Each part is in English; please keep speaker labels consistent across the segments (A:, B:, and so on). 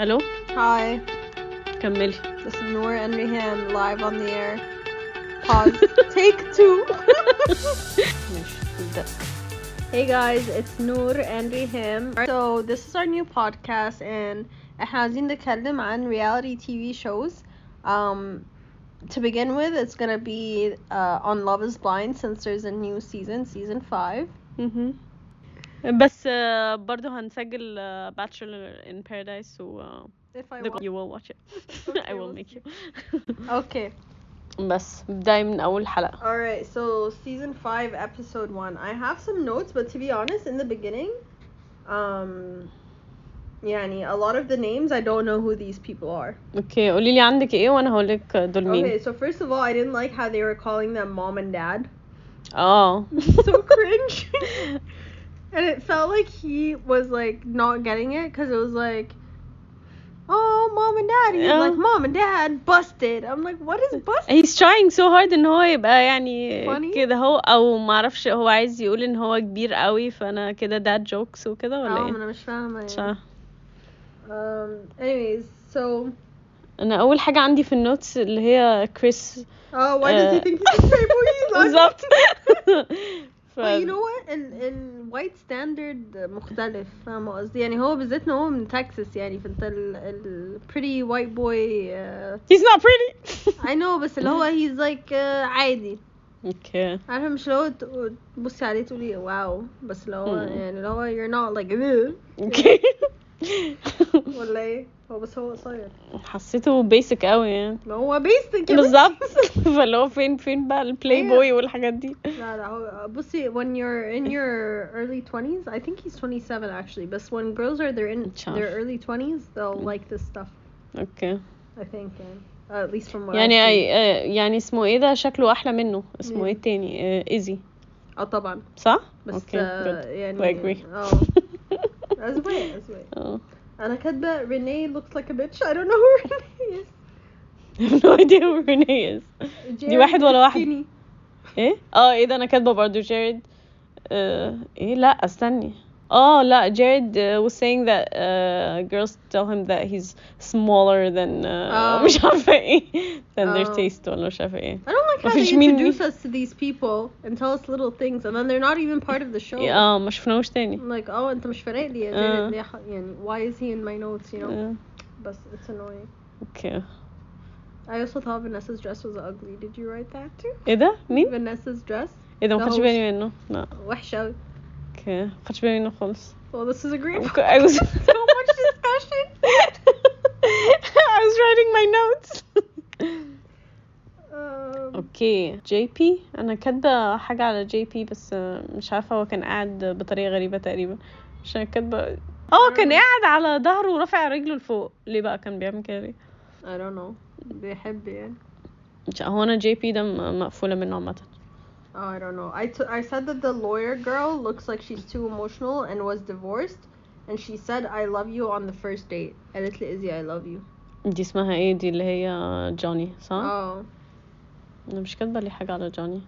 A: الو
B: Hi,
A: كملي
B: this is Noor and Rihan live on the air. Pause. Take two.
A: ماشي نبدأ.
B: hey guys, it's Noor and Rihan. So this is our new podcast and احنا عايزين نتكلم عن reality TV shows. Um, to begin with, it's gonna be uh, on Love Is Blind since there's a new season, season five.
A: مهم. بس آه، برضو هنسجل آه، Bachelor in Paradise و آه،
B: If I
A: the-
B: want.
A: you will watch it I
B: Okay,
A: will
B: we'll
A: make you
B: Okay.
A: بس بداية من أول حلقة
B: All right. So season five, episode one. I have some notes, but to be honest, in the beginning, um, يعني a lot of the names I don't know who these people are.
A: اوكي قولي لي عندك ايه وانا هقولك دول
B: Okay.
A: مين
B: So first of all, I didn't like how they were calling them mom and dad.
A: اه
B: So cringe. and it felt like he was like not getting it because it was like. Oh, mom and dad. He's
A: Yeah.
B: like, mom and dad, busted. I'm like, what is busted?
A: he's trying so hard ان هو يبقى يعني
B: Funny.
A: كده هو او معرفش هو عايز يقول ان هو كبير قوي فانا كده dad jokes وكده ولا
B: آه، ما
A: ايه
B: أنا مش فاهمة
A: مش
B: يعني.
A: عارفة.
B: Um, anyways, so
A: انا اول حاجة عندي في النوتس اللي هي كريس
B: Oh, why does he
A: Uh,
B: think he's Playboy?
A: بالظبط ف-
B: But you know what? ال ال white standard مختلف فاهمة قصدي؟ يعني هو بالذات ان هو من تكساس يعني فانت ال ال pretty white boy uh,
A: he's not pretty
B: I know بس اللي هو he's like uh, عادي
A: اوكي
B: عارفة مش اللي هو ت- تبصي عليه تقولي واو بس اللي هو
A: Mm.
B: يعني اللي هو you're not like "Ugh."
A: اوكي
B: ولا ايه؟ هو بس هو قصير
A: حسيته بيسك قوي يعني
B: ما هو basic يا بنتي.
A: بالظبط فاللي هو فين فين بقى البلاي بوي والحاجات دي
B: لا لا هو بصي when you're in your early 20s I think he's 27 actually but when girls are they're in
A: مش
B: their
A: عارفة.
B: early 20s they'll like this stuff
A: اوكي
B: I think يعني. uh, at least from what
A: يعني
B: I've seen.
A: أي- آه، يعني اسمه ايه ده شكله احلى منه اسمه ايه
B: مين؟
A: التاني آه، ايزي
B: اه طبعا
A: صح
B: بس
A: اوكي
B: آه،
A: جود
B: يعني
A: I agree.
B: اه أذواق أذواق
A: اه
B: أنا كاتبة Renee looks like a bitch I don't know who
A: I
B: Renee is
A: have no idea who Renee is
B: Jared
A: واحد ولا
B: is
A: واحدة؟
B: skinny.
A: ايه اه ايه ده انا كاتبه برضه جيرد آه ايه لا استني اه لا جيرد uh, was saying that uh, girls tell him that he's smaller than uh,
B: آه.
A: مش عارفه ايه than their
B: آه.
A: taste ولا مش عارفه ايه
B: I don't like how
A: مفيش
B: they
A: مني.
B: introduce us to these people and tell us little things and then they're not even part of the show
A: اه ما شفناهوش تاني
B: I'm like اه انت مش فارق لي يا
A: آه.
B: Jared. ليه ح- يعني why is he in my notes you know
A: آه،
B: But it's annoying.
A: اوكي
B: I also thought Vanessa's dress was ugly. Did you write that too?
A: ايه ده مين
B: Vanessa's dress.
A: ايه ده
B: ده
A: ما خدتش
B: هو
A: بالي منه لا
B: وحشة.
A: اوكي ما خدتش بالي منه خالص
B: Well, this is a great.
A: Okay, I was-
B: so much discussion.
A: I was writing my notes
B: Um,
A: اوكي جي بي انا كاتبه حاجه على جي بي بس آه، مش عارفه هو كان قاعد بطريقه غريبه تقريبا عشان كاتبه اه كان قاعد على ظهره ورافع رجله لفوق ليه بقى كان بيعمل كده ليه
B: I don't know. بيحب يعني.
A: مش- هو انا جي بي ده م- مقفوله منه عامه
B: Oh, I don't know. I, t- I said that the lawyer girl looks like she's too emotional and was divorced, and she said "I love you" on the first date. قالت لي Izzy, I love you.
A: دي اسمها ايه دي اللي هي جوني صح
B: Oh.
A: انا مش كاتبه لي حاجه على جوني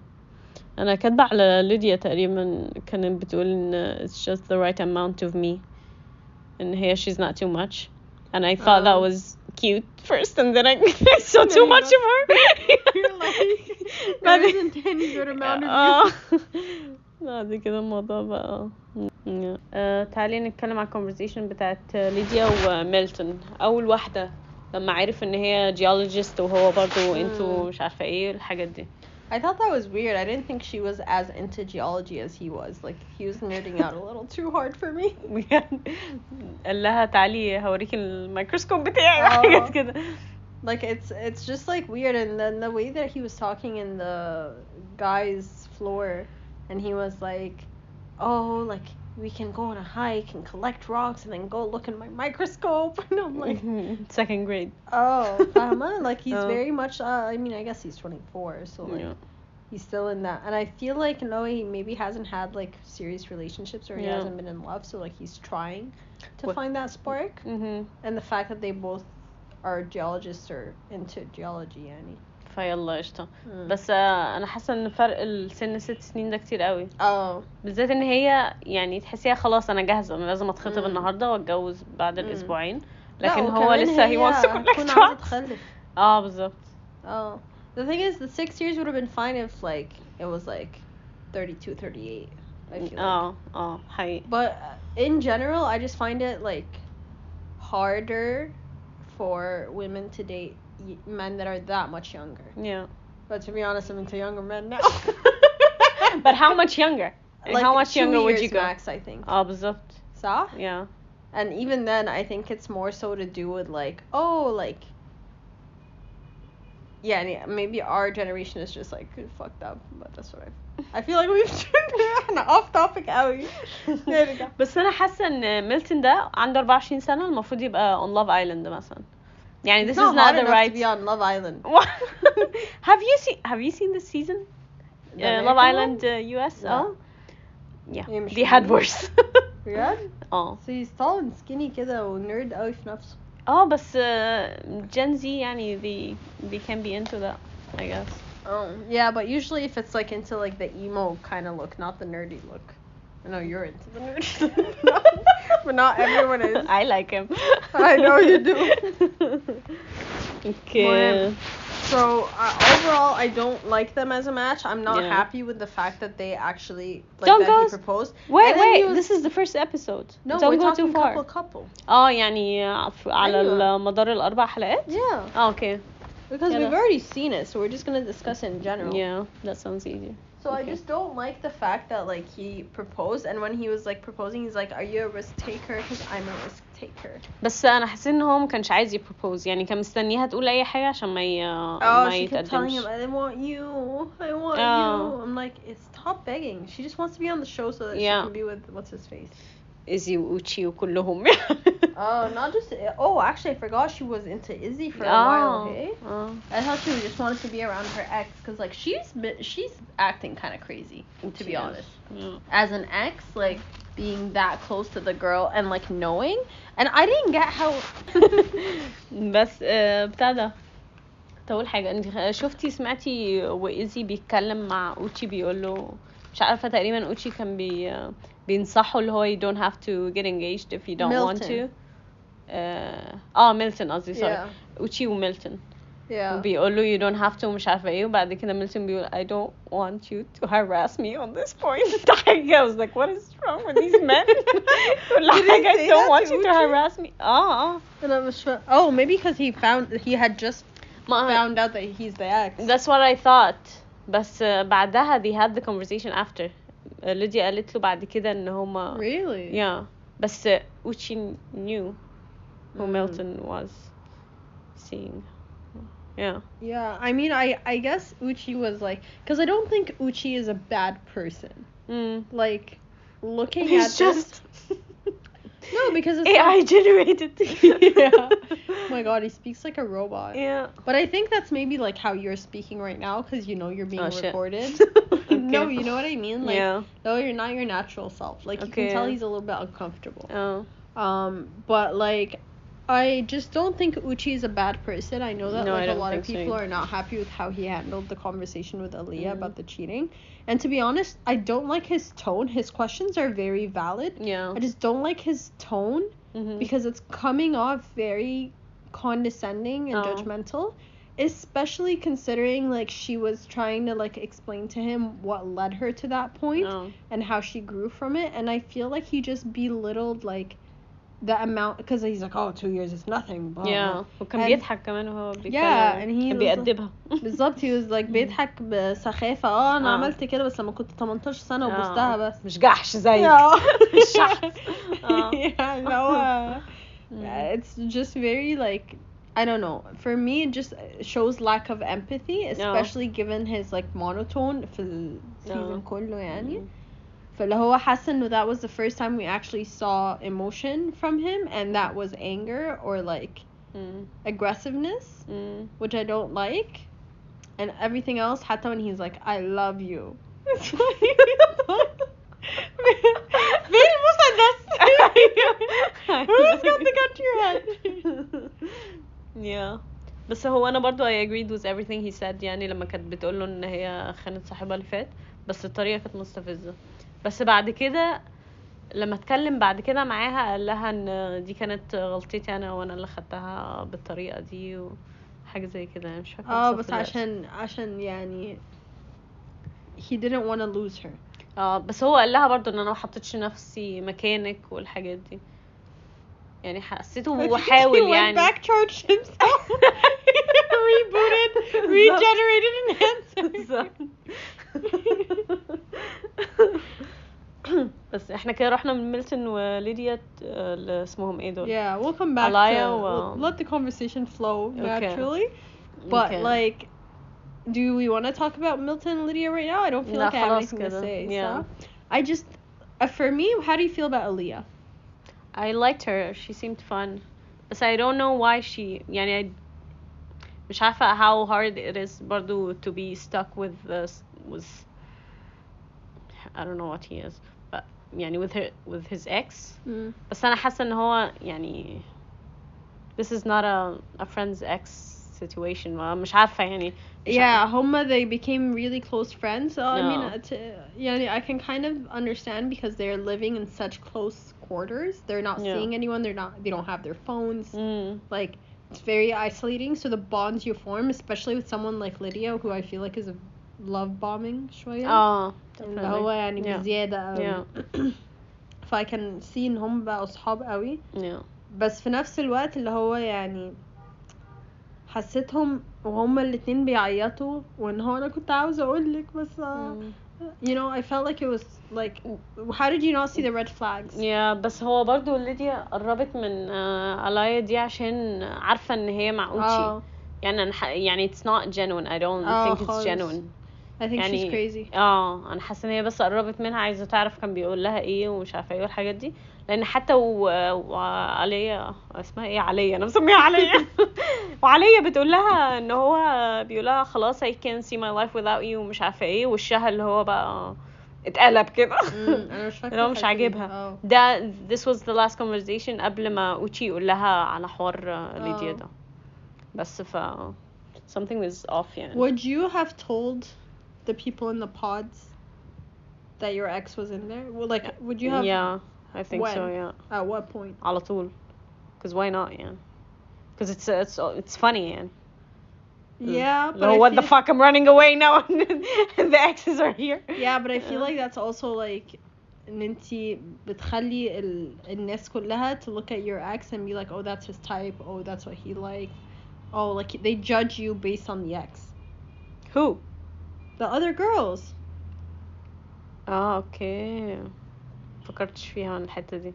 A: انا كاتبه على ليديا تقريبا كانت بتقول ان it's just the right amount of me ان هي she's not too much and I thought that
B: Oh.
A: was cute first and then I, I saw too
B: Yeah,
A: much of her
B: You're like there
A: بعد-
B: isn't any good amount of
A: اه
B: you.
A: بعد كده الموضوع بقى yeah. آه، تعالي نتكلم على الكونفرزيشن بتاعت ليديا وميلتون اول واحده لما عرف ان هي جيولوجيست وهو برضو انتوا مش عارفه ايه الحاجات دي
B: I thought that was weird. I didn't think she was as into geology as he was. Like he was nerding out a little too hard for me.
A: بجد قال لها تعالي هوريكي الميكروسكوب بتاعي
B: آه.
A: وحاجات كده
B: Like it's it's just like weird and then the way that he was talking in the guy's floor and he was like, "Oh, like we can go on a hike and collect rocks and then go look in my microscope." And I'm like,
A: second grade
B: "Oh, Fahma, like he's
A: Mm-hmm. Oh.
B: very much uh, I mean, I guess he's 24, so like
A: Yeah.
B: he's still in that and i feel like no he maybe hasn't had like serious relationships or he
A: Yeah.
B: hasn't been in love so like he's trying to
A: What-
B: find that spark
A: Mhm.
B: and the fact that they both are geologists or into geology yani
A: فيلا قشطة
B: Mm.
A: بس آه، انا حاسة ان فرق السن ست سنين ده كتير قوي
B: oh
A: بالذات ان هي يعني تحسيها خلاص انا جاهزة انا لازم اتخطب
B: Mm.
A: النهاردة واتجوز بعد
B: Mm.
A: الاسبوعين لكن هو لسه he wants to collect drugs اه بالظبط
B: Oh. The thing is, the six years would have been fine if, like, it was, like, 32, 38. I feel like.
A: اه اه حقيقي
B: But uh, in general, I just find it, like, harder for women to date y- men that are that much younger.
A: yeah
B: But to be honest, I'm into younger men now.
A: but how much younger and how much
B: two
A: younger would
B: years
A: you go
B: max, I think.
A: اه بالظبط
B: صح?
A: yeah
B: And even then, I think it's more so to do with like, oh, like, yeah, and yeah, maybe our generation is just like fucked up, but that's what I. I feel like we've turned an off-topic alley. نرجع.
A: بس انا حاسه ان ميلتون ده عنده 24 سنه المفروض يبقى on Love Island مثلا يعني this
B: It's
A: is not
B: hard
A: the
B: enough
A: right
B: to be on Love Island.
A: have you seen have you seen this season
B: The
A: uh,
B: American
A: Love Island
B: one?
A: uh, US
B: No.
A: اه yeah
B: هي مش
A: they had
B: حلوة.
A: worse
B: بجد؟
A: اه
B: So he's tall and skinny oh, كده ونيرد قوي في نفسه.
A: اه بس Oh, uh, Gen Z يعني they they can be into that I guess
B: Oh, yeah, but usually if it's like into like the emo kind of look, not the nerdy look. I know you're into the nerdy look. but not everyone is.
A: I like him
B: I know you do.
A: okay
B: Well, So uh, overall, I don't like them as a match. I'm not
A: Yeah.
B: happy with the fact that they actually like
A: Don't
B: that
A: go
B: he
A: s-
B: proposed.
A: wait
B: And then
A: wait
B: he was-
A: this is the first episode
B: no,
A: don't
B: we're
A: go
B: talking
A: too far Oh,
B: couple couple.
A: اه يعني ف- على
B: أيوة.
A: مدار الاربع حلقات Oh,
B: Yeah,
A: اه اوكي
B: because
A: Yeah,
B: we've
A: that's-
B: already seen it, so we're just gonna discuss it in general.
A: yeah that sounds easy
B: So I
A: Okay.
B: just don't like the fact that like he proposed, and when he was like proposing, he's like, "Are you a risk taker? Because I'm a risk taker."
A: بس انا حسيت ان هو ما كانش عايز يبروبوز يعني كان مستنيها تقول اي حاجه عشان ما ي...
B: Oh,
A: ما
B: she kept telling
A: يتقدمش
B: him, I want you. I want
A: Oh.
B: you. I'm like, it's stop begging. She just wants to be on the show so that
A: Yeah.
B: she can be with what's his face.
A: ازي واوتشي وكلهم
B: Oh, not just. Oh, actually, I forgot she was into Izzy for a
A: اه
B: while. Hey,
A: اه
B: I thought she was just wanted to be around her ex because like she's bi- she's acting kind of crazy to be
A: Yeah.
B: honest.
A: Yeah.
B: As an ex, like being that close to the girl and like knowing, and I didn't get how.
A: بس آه، بتاع ده كنت اقول حاجه انت شفتي سمعتي وايزي بيتكلم مع اوتشي بيقول له مش عارفه تقريبا اوتشي كان بي بينصحه اللي هو you don't have to get engaged if you don't want
B: ميلتون.
A: to آه، اه ميلتون قصدي سوري
B: Yeah.
A: اوتشي وميلتون
B: Yeah.
A: بيقول له "Oh, you don't have to ومش عارفه ايه وبعد كده ميلتون بيقول I don't want you to harass me on this point ده حاجه I was like what is wrong with these men كل
B: Did he
A: حاجه I
B: say
A: don't
B: that
A: want
B: to
A: you to
B: Uchi?
A: harass me Ah. اه اه
B: And I was sure. Oh, maybe because he found he had just
A: ما
B: found out that he's the ex.
A: that's what I thought بس آه، بعدها they had the conversation after آه، ليديا قالت له بعد كده ان هما
B: Oh. Really?
A: yeah بس آه، Uchi knew who
B: Mm.
A: Milton was seeing yeah
B: Yeah. I mean, I I guess Uchi was like, because I don't think Uchi is a bad person.
A: mm.
B: Like, looking at
A: He's
B: this.
A: just
B: No, because it's
A: AI generated.
B: yeah. Oh my God, he speaks like a robot.
A: Yeah.
B: But I think that's maybe like how you're speaking right now, because you know you're being
A: Oh, shit.
B: recorded.
A: Okay.
B: No, you know what I mean. Like,
A: yeah.
B: no, you're not your natural self. Like, you
A: Okay.
B: can tell he's a little bit uncomfortable.
A: Oh.
B: Um, but like, I just don't think Uchi is a bad person. I know that
A: No, I
B: like a
A: don't
B: lot of
A: think so
B: people
A: either.
B: are not happy with how he handled the conversation with Aaliyah
A: Mhm.
B: about the cheating. And to be honest, I don't like his tone. His questions are very valid.
A: Yeah.
B: I just don't like his tone
A: Mhm.
B: because it's coming off very condescending and
A: Oh.
B: judgmental. Especially considering like she was trying to like explain to him what led her to that point
A: Oh.
B: and how she grew from it and i feel like he just belittled like the amount because he's like oh two years is nothing blah, blah."
A: Yeah. وكان
B: And-
A: بيضحك كمان وهو بيتكلم.
B: Yeah, and he
A: كان
B: was-
A: بيأدبها.
B: بالظبط he was like
A: Mm.
B: بيضحك بسخافه اه انا
A: آه.
B: عملت كده بس لما كنت 18 سنه
A: آه.
B: وبوستها بس
A: Oh. مش جحش زيك.
B: Yeah.
A: الشحن. آه.
B: Yeah, اللي هو
A: Mm.
B: it's just very like I don't know. For me, it just shows lack of empathy, especially given his like monotone في السيزون
A: آه.
B: كله يعني.
A: Mm-hmm.
B: فاللي هو حاسة انه that was the first time we actually saw emotion from him and that was anger or like
A: Mm.
B: aggressiveness
A: Mm.
B: which I don't like and everything else حتى when he's like I love you It's like- فين المسدس؟ Who's got the gun to your head?
A: Yeah. بس هو انا برضو I agreed with everything he said يعني لما كانت بتقول له ان هي خانت صاحبها اللي فات بس الطريقه كانت مستفزه بس بعد كده لما اتكلم بعد كده معاها قال لها ان دي كانت غلطتي انا وانا اللي خدتها بالطريقه دي وحاجه زي كده أنا مش فاكره
B: اه
A: بالظبط
B: بس
A: دلوقتي.
B: عشان عشان يعني he didn't want to lose her
A: اه بس هو قال لها برضو ان انا ما حطيتش نفسي مكانك والحاجات دي يعني حسيته
B: I think
A: هو حاول
B: he went
A: يعني
B: back charged himself rebooted regenerated and answered
A: بالظبط. بس احنا كده رحنا من ميلتون وليديا ت- آه، ل- اسمهم ايه دول
B: yeah we'll come back
A: Alaya,
B: to
A: well-
B: let the conversation flow
A: Okay.
B: naturally but
A: Okay.
B: like do we want to talk about Milton and Lydia right now I don't feel
A: لا
B: like I have
A: خلاص
B: anything to
A: كده.
B: say
A: Yeah.
B: so I just uh, for me how do you feel about Aaliyah
A: I liked her she seemed fun بس I don't know why she يعني I مش عارفة how hard it is برضو to be stuck with this with I don't know what he is but يعني with her with his ex
B: mm.
A: بس أنا حاسة إن هو يعني this is not a a friend's ex situation ما- مش عارفة يعني مش
B: Yeah, Homa, they became really close friends. So, I mean,
A: No.
B: uh, t- yeah, I can kind of understand because they're living in such close quarters. They're not
A: Yeah.
B: seeing anyone. They're not. They don't have their phones.
A: Mm.
B: Like, it's very isolating. So the bonds you form, especially with someone like Lydia, who I feel like is a love bombing. شوية.
A: اه
B: اللي طيب. هو يعني
A: Oh, Yeah.
B: بزيادة أوي. فا um, I can see إن هم بقوا صحاب قوي.
A: yeah.
B: بس في نفس الوقت اللي هو يعني حسيتهم وهما الاتنين بيعيطوا وان هو انا كنت عاوزه اقول لك بس آه،
A: Mm.
B: you know I felt like it was like how did you not see the red flags
A: يا بس هو برضو ليديا قربت من آه، الايا دي عشان عارفه ان هي مع اوتشي
B: اه
A: يعني أنا ح- يعني it's not genuine I don't
B: آه،
A: think it's
B: خالص.
A: genuine
B: I think she's
A: يعني-
B: crazy
A: اه انا حاسه ان هي بس قربت منها عايزه تعرف كان بيقول لها ايه ومش عارفه ايه والحاجات دي لان حتى و... وعليا اسمها ايه عليا انا مسميها عليا وعليا بتقول لها ان هو بيقول لها خلاص I can't see my life without you ومش عارفه ايه وشها اللي هو بقى اتقلب كده
B: مم، انا مش فاكره
A: اللي هو مش
B: الحتة دي.
A: عاجبها
B: اه
A: ده this was the last conversation قبل ما اوتشي يقول لها على حوار آه، ليديا
B: آه.
A: ده بس ف something was off يعني
B: would you have told the people in the pods that your ex was in there well, like would you have
A: yeah I think so
B: When?
A: yeah
B: at what point
A: على طول cause why not يعني cause it's it's it's funny يعني اللي
B: yeah but
A: هو
B: I
A: Mm. what the
B: feel-
A: fuck I'm running away now and the exes are here
B: yeah but I feel like that's also like ان انتي بتخلي ال... الناس كلها to look at your ex and be like oh that's his type oh that's what he likes oh like they judge you based on the ex
A: who
B: the other girls
A: اه اوكي فكرتش فيها عن الحته دي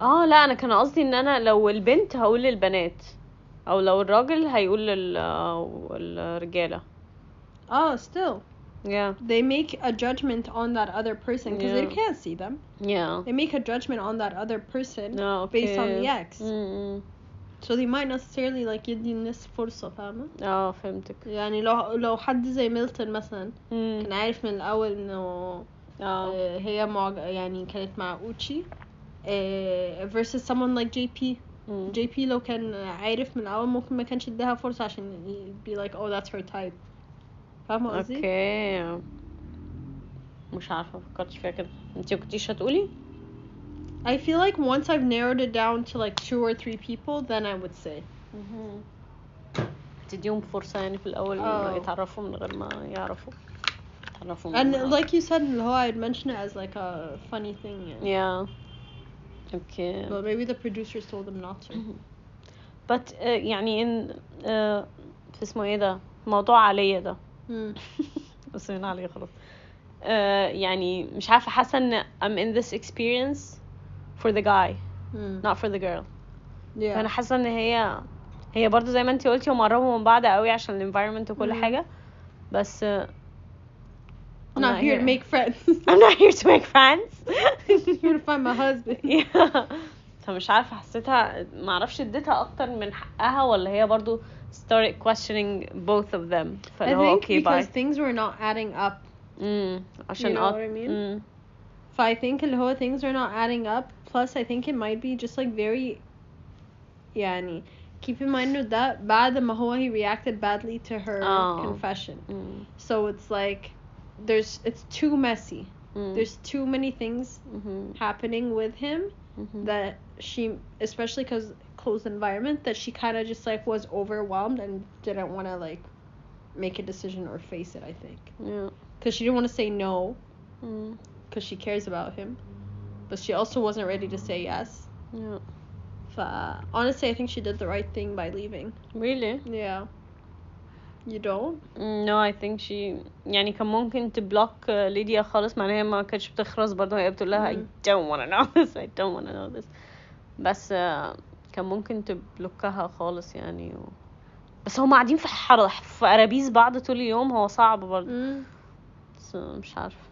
A: اه لا انا كان قصدي ان انا لو البنت هقول للبنات او لو الراجل هيقول لل الرجاله
B: oh still
A: yeah
B: they make a judgment on that other person because
A: Yeah.
B: they can't see them
A: yeah
B: they make a judgment on that other person
A: اه اوكي
B: based on the ex
A: م- م.
B: so they might necessarily like يدي الناس فرصة فاهمة
A: اه فهمتك Mm.
B: يعني لو لو حد زي ميلتون مثلا
A: م.
B: كان عارف من الأول انه
A: اه
B: آه، هي معج... يعني كانت مع اوتشي آه، versus someone like JP
A: م.
B: JP لو كان عارف من الأول ممكن ما كانش اداها فرصة عشان ي- be like oh that's her type فاهمة قصدي؟
A: اوكي مش عارفه مفكرتش فيها كده انتي مكنتيش هتقولي
B: I feel like once I've narrowed it down to like two or three people then I would say
A: تديهم فرصة يعني في الأول
B: آه.
A: إنه يتعرفوا من غير ما يعرفوا يتعرفوا من
B: and
A: غير ما
B: like you said اللي هو I'd mention it as like a funny thing يعني.
A: يعرفوا. yeah okay
B: but maybe the producers told them not
A: Mm-hmm.
B: to
A: but uh, يعني إن uh, في اسمه إيه ده موضوع عليا ده
B: Mm.
A: Mm-hmm. بس من عليا خلاص uh, يعني مش عارفة حاسة إن I'm in this experience for the guy
B: Mm.
A: Mm-hmm. not for the girl
B: yeah
A: انا حاسه ان هي هي برضو زي ما انت قلتي هم قربوا من بعض قوي عشان الانفايرمنت وكل
B: مم.
A: حاجه بس آه،
B: I'm not here to make friends
A: I'm not here to make friends
B: here to find my husband
A: Yeah. فمش عارفه حسيتها ما اعرفش اديتها اكتر من حقها ولا هي برضو started questioning both of them
B: I
A: فاللي هو
B: think
A: اوكي باي
B: because things were not adding up
A: امم عشان
B: know
A: اه
B: what I mean?
A: مم.
B: So I think اللي هو things are not adding up. Plus, I think it might be just like very. يعني keep in mind with that بعد ما هو he reacted badly to her
A: Oh.
B: confession.
A: مم.
B: So it's like there's it's too messy.
A: Mm.
B: There's too many things
A: Mhm.
B: happening with him
A: Mhm.
B: that she, especially because closed environment, that she kind of just like was overwhelmed and didn't want to like make a decision or face it. I think
A: yeah.
B: because she didn't want to say no
A: Mm.
B: because she cares about him, but she also wasn't ready to say yes.
A: Yeah.
B: ف- honestly, I think she did the right thing by leaving.
A: Really?
B: Yeah. You don't?
A: No I think she يعني كان ممكن تبلوك آه، ليديا خالص معناها ما كانتش بتخرس برضه هي بتقول لها I
B: مم.
A: don't wanna know this I don't wanna know this بس آه، كان ممكن تبلوكها خالص يعني و... بس هما قاعدين في حر... في قرابيز بعض طول اليوم هو صعب برضه بس مش عارفة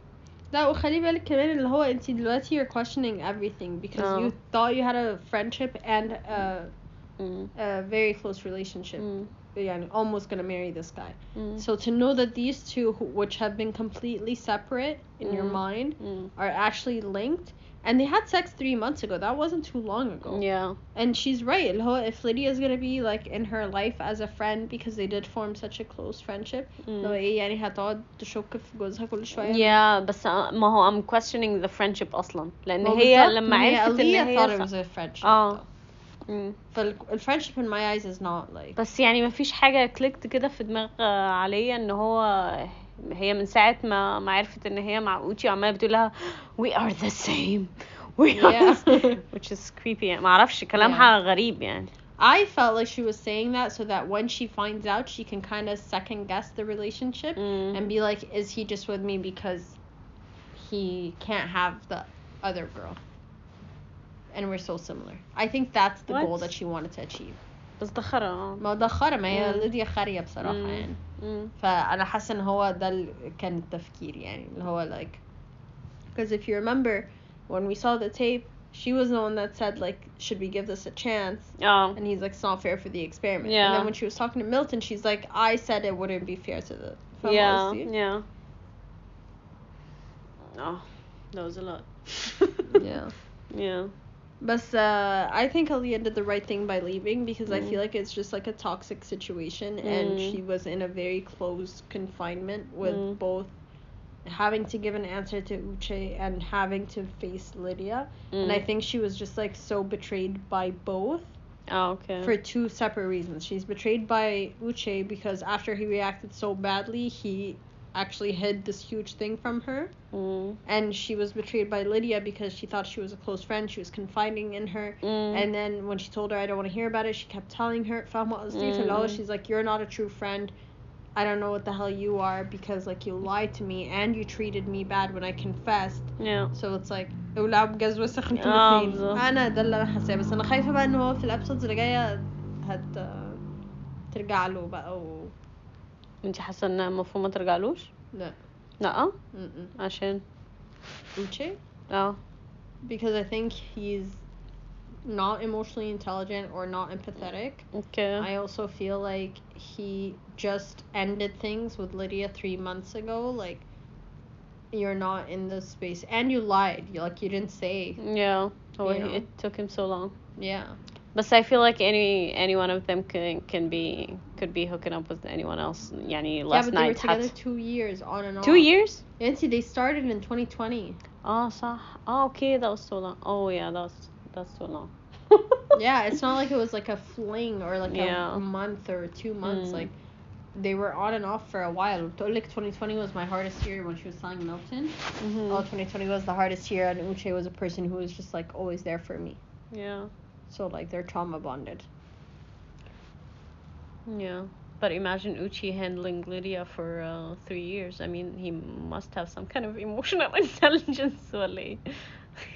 B: لا وخلي بالك كمان اللي هو انت دلوقتي you're questioning everything because
A: اه.
B: you thought you had a friendship and a,
A: مم.
B: a very close relationship
A: مم.
B: يعني almost gonna marry this guy
A: مم.
B: so to know that these two who- which have been completely separate in your
A: Mhm.
B: mind
A: مم.
B: are actually linked and they had sex three months ago that wasn't too long ago
A: Yeah.
B: and she's right اللي هو if Lydia's gonna be like in her life as a friend because they did form such a close friendship eh,
A: مم.
B: اللي هو ايه يعني هتقعد تشك في جوزها كل شوية
A: Mm. yeah بس آه، ما هو I'm questioning the friendship أصلا لأن
B: ما
A: هي
B: بالظبط،
A: لما
B: ما هي
A: عرفت
B: Aaliyah
A: إن
B: thought
A: هي
B: it
A: ف-
B: was a friendship
A: اه.
B: though.
A: مم.
B: فال- friendship in my eyes is not like
A: بس يعني مفيش حاجة كليكت كده في دماغ آه، عليا ان هو هي من ساعة ما ما عرفت ان هي مع اوتي وعمالة بتقول لها we are the same we are
B: Yeah.
A: the same." which is creepy يعني معرفش كلامها غريب يعني
B: I felt like she was saying that so that when she finds out she can kind of second guess the relationship
A: Mm.
B: and be like is he just with me because he can't have the other girl and we're so similar I think that's the
A: What?
B: goal that she wanted to achieve
A: بس ده خرا اه
B: ما ده خرا ما هي
A: Mm.
B: ليديا خارية بصراحة
A: Mm.
B: يعني
A: مم.
B: فانا حاسه ان هو ده ال- كان التفكير يعني اللي هو like because if you remember when we saw the tape she was the one that said like should we give this a chance
A: اه
B: and he's like it's not fair for the experiment and
A: Yeah.
B: then when she was talking to Milton she's like I said it wouldn't be fair to the فاهمة
A: yeah
B: قصدي؟
A: yeah اه that was a lot
B: yeah
A: yeah
B: But uh, I think Aaliyah did the right thing by leaving because I
A: Mm.
B: feel like it's just like a toxic situation and
A: Mm.
B: she was in a very close confinement with
A: Mm.
B: both having to give an answer to Uche and having to face Lydia. And I
A: Mm.
B: think she was just like so betrayed by both
A: اه okay
B: for two separate reasons. She's betrayed by Uche because after he reacted so badly, he actually hid this huge thing from her
A: Mm.
B: and she was betrayed by Lydia because she thought she was a close friend. She was confiding in her,
A: Mm.
B: and then when she told her I don't want to hear about it, she kept telling her فاهمة قصدي؟ فاللي هو
A: Mm.
B: she's like you're not a true friend. I don't know what the hell you are because like you lied to me and you treated me bad when I confessed.
A: yeah
B: So it's like ولعب جاز وسخن
A: آه،
B: الاثنين.
A: بالظبط.
B: انا ده اللي انا حاساه بس انا خايفه بقى ان هو في الابسودز اللي جايه هت ترجع له بقى و
A: انت حاسه ان المفروض ما ترجعلوش
B: لا
A: لا
B: م-م.
A: عشان
B: Uche?
A: اه
B: because I think he's not emotionally intelligent or not empathetic.
A: اوكي
B: I also feel like he just ended things with Lydia three months ago. Like, you're not in this space, and you lied. You like you didn't say.
A: yeah هو
B: You know.
A: it took him so long
B: Yeah.
A: بس I feel like any any one of them can can be could be hooking up with anyone else يعني
B: yeah,
A: last
B: but they were
A: night
B: together
A: حتى
B: two years on and off.
A: two years
B: And see, they started in 2020.
A: اه صح اه okay that was so long oh yeah that was that's so long
B: yeah, it's not like it was like a fling or like
A: Yeah.
B: a month or two months.
A: Mm.
B: Like, they were on and off for a while. Like 2020 was my hardest year when she was selling Milton.
A: Mhm.
B: Oh, 2020 was the hardest year, and Uche was a person who was just like always there for me.
A: yeah
B: So like they're trauma bonded.
A: yeah but imagine Uchi handling Lydia for uh, three years I mean he must have some kind of emotional intelligence ولا ايه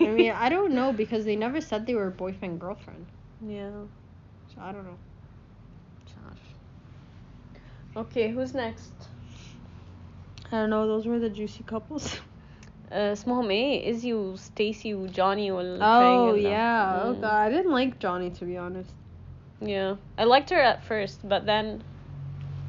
B: I mean, I don't know because they never said they were boyfriend girlfriend.
A: yeah
B: So I don't know.
A: مش عارفة. Okay, who's next?
B: I don't know. Those were the juicy couples.
A: Uh, اسمهم ايه؟ Izzy و Stacy و Johnny وال
B: Oh
A: triangle ده.
B: yeah. Oh
A: Mm.
B: god, I didn't like Johnny to be honest.
A: Yeah. I liked her at first, but then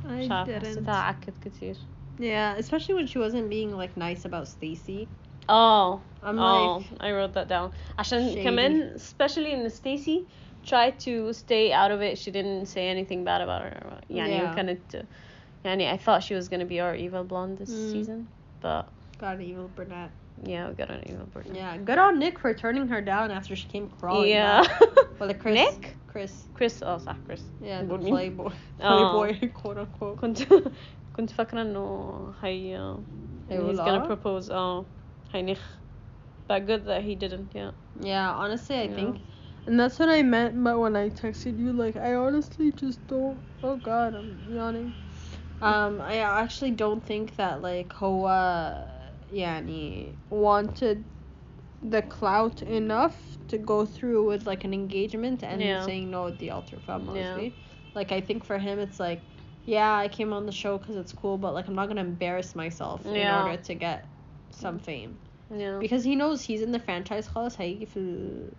A: مش
B: I
A: عارفة
B: didn't.
A: حسيتها عكت كتير.
B: Yeah, especially when she wasn't being like nice about Stacy.
A: Oh.
B: I'm
A: oh,
B: like,
A: I wrote that down. عشان
B: Shady.
A: كمان especially in Stacy tried to stay out of it. She didn't say anything bad about her. يعني
B: Yeah.
A: وكانت يعني I thought she was gonna be our evil blonde this
B: Mm.
A: season, but
B: God, evil brunette.
A: Yeah, we got an email for
B: Yeah, good on Nick for turning her down after she came crawling.
A: Yeah.
B: back. Well, the Chris.
A: Nick?
B: Chris.
A: Chris اه صح Chris
B: Yeah, the
A: Goodwin.
B: playboy.
A: آه.
B: Playboy, quote unquote.
A: كنت كنت فاكرة انه هي he's
B: هيولع؟
A: gonna propose اه هينخ but good that he didn't yeah
B: Yeah, honestly, I
A: Yeah.
B: think. And that's what I meant by when I texted you. Like, I honestly just don't. Oh God, I'm yawning. Um, I actually don't think that like Hoa, yani wanted the clout enough to go through with like an engagement and
A: Yeah.
B: saying no at the altar from
A: Yeah.
B: honestly. Like, I think for him, it's like, yeah, I came on the show because it's cool, but like, I'm not gonna embarrass myself
A: Yeah.
B: in order to get some fame.
A: yeah
B: because he knows he's in the franchise خلاص هيجي في ال...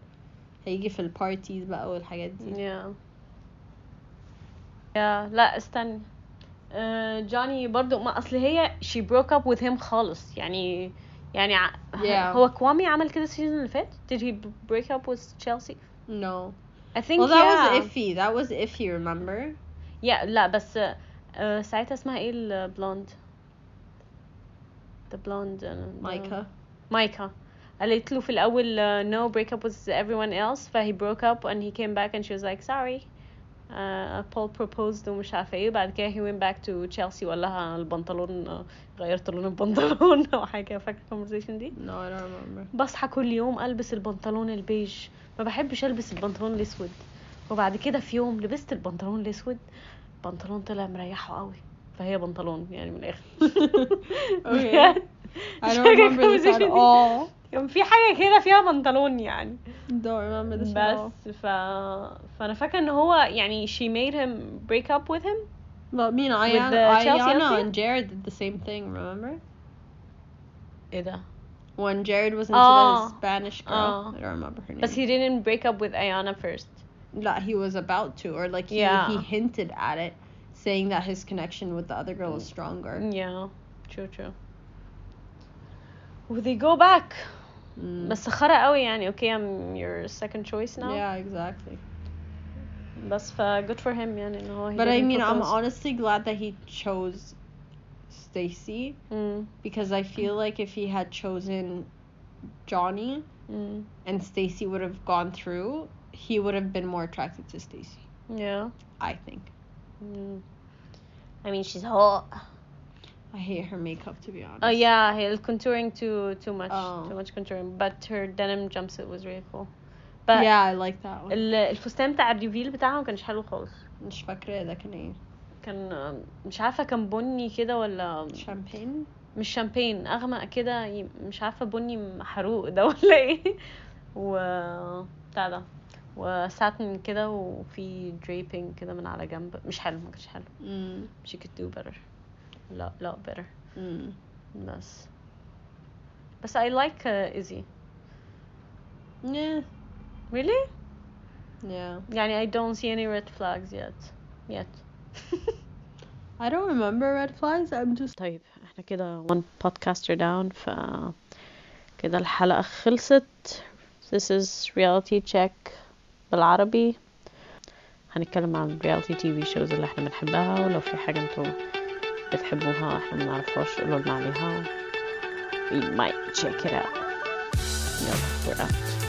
B: هيجي في البارتيز بقى والحاجات دي
A: yeah yeah لا استنى آه، جوني برضو ما اصل هي she broke up with him خالص يعني يعني ع-
B: Yeah.
A: هو كوامي عمل كده السيزون اللي فات did he break up with Chelsea
B: no
A: I think
B: well that
A: yeah
B: was iffy that was iffy remember
A: yeah لا بس آه، ساعتها اسمها ايه البلوند the blonde uh,
B: Micah
A: مايكا قالت له في الأول uh, no break up with everyone else فهي broke up and he came back and she was like sorry uh, Paul proposed ومش عارفة ايه بعد كده he went back to Chelsea وقال لها البنطلون uh, غيرت لون البنطلون أو حاجة فاكرة الكونفرزيشن دي
B: no I don't remember
A: بصحى كل يوم ألبس البنطلون البيج ما بحبش ألبس البنطلون الأسود وبعد كده في يوم لبست البنطلون الأسود البنطلون طلع مريحه قوي فهي بنطلون يعني من الآخر
B: okay I don't remember this at all
A: كان في حاجة كده فيها بنطلون يعني
B: don't remember this at all
A: بس ف... فأنا فاكرة إن هو يعني she made him break up with him
B: but me and
A: With
B: Ayana,
A: the Chelsea
B: Ayana
A: outfit?
B: and Jared did the same thing remember
A: إيه ده؟
B: when Jared was into
A: Oh.
B: the Spanish girl
A: Oh.
B: I don't remember her name
A: بس he didn't break up with Ayana first
B: that he was about to or like he,
A: Yeah.
B: he hinted at it saying that his connection with the other girl was stronger
A: yeah true true they go back
B: Mm.
A: بس خرا قوي يعني okay I'm your second choice now
B: Yeah, exactly.
A: بس ف good for him يعني إن هو he
B: But I
A: didn't
B: mean, I'm
A: propose.
B: honestly glad that he chose Stacy
A: Mm,
B: because I feel like if he had chosen Johnny
A: mm,
B: and Stacy would have gone through, he would have been more attracted to Stacy.
A: yeah
B: I think.
A: mm. I mean she's hot
B: I hate her makeup to be honest.
A: Oh yeah, he- the contouring too too much,
B: Oh.
A: too much contouring. But her denim jumpsuit was really cool. But
B: yeah, I like that one.
A: ال- الفستان بتاع الريفيل بتاعها ما كانش حلو خالص.
B: مش فاكرة ده كان ايه.
A: كان آم، مش عارفة كان بني كده ولا
B: Champagne?
A: مش شامبين أغمق كده ي- مش عارفة بني محروق ده ولا ايه و بتاع ده وساتن كده وفي دريبنج كده من على جنب مش حلو ما كانش حلو
B: Mm.
A: she could do better لا لا better
B: Mm.
A: بس بس I like uh, Izzy
B: Yeah.
A: Really?
B: Yeah.
A: Yani, I don't see any red flags yet. Yet.
B: I don't remember red flags. I'm just
A: طيب احنا كده one podcaster down ف كده الحلقة خلصت. This is reality check بالعربي. هنتكلم عن reality TV shows اللي احنا بنحبها ولو في حاجة انتوا بتحبوها احنا منعرفهاش قولوا لنا عليها. We might check it out. يلا we're out.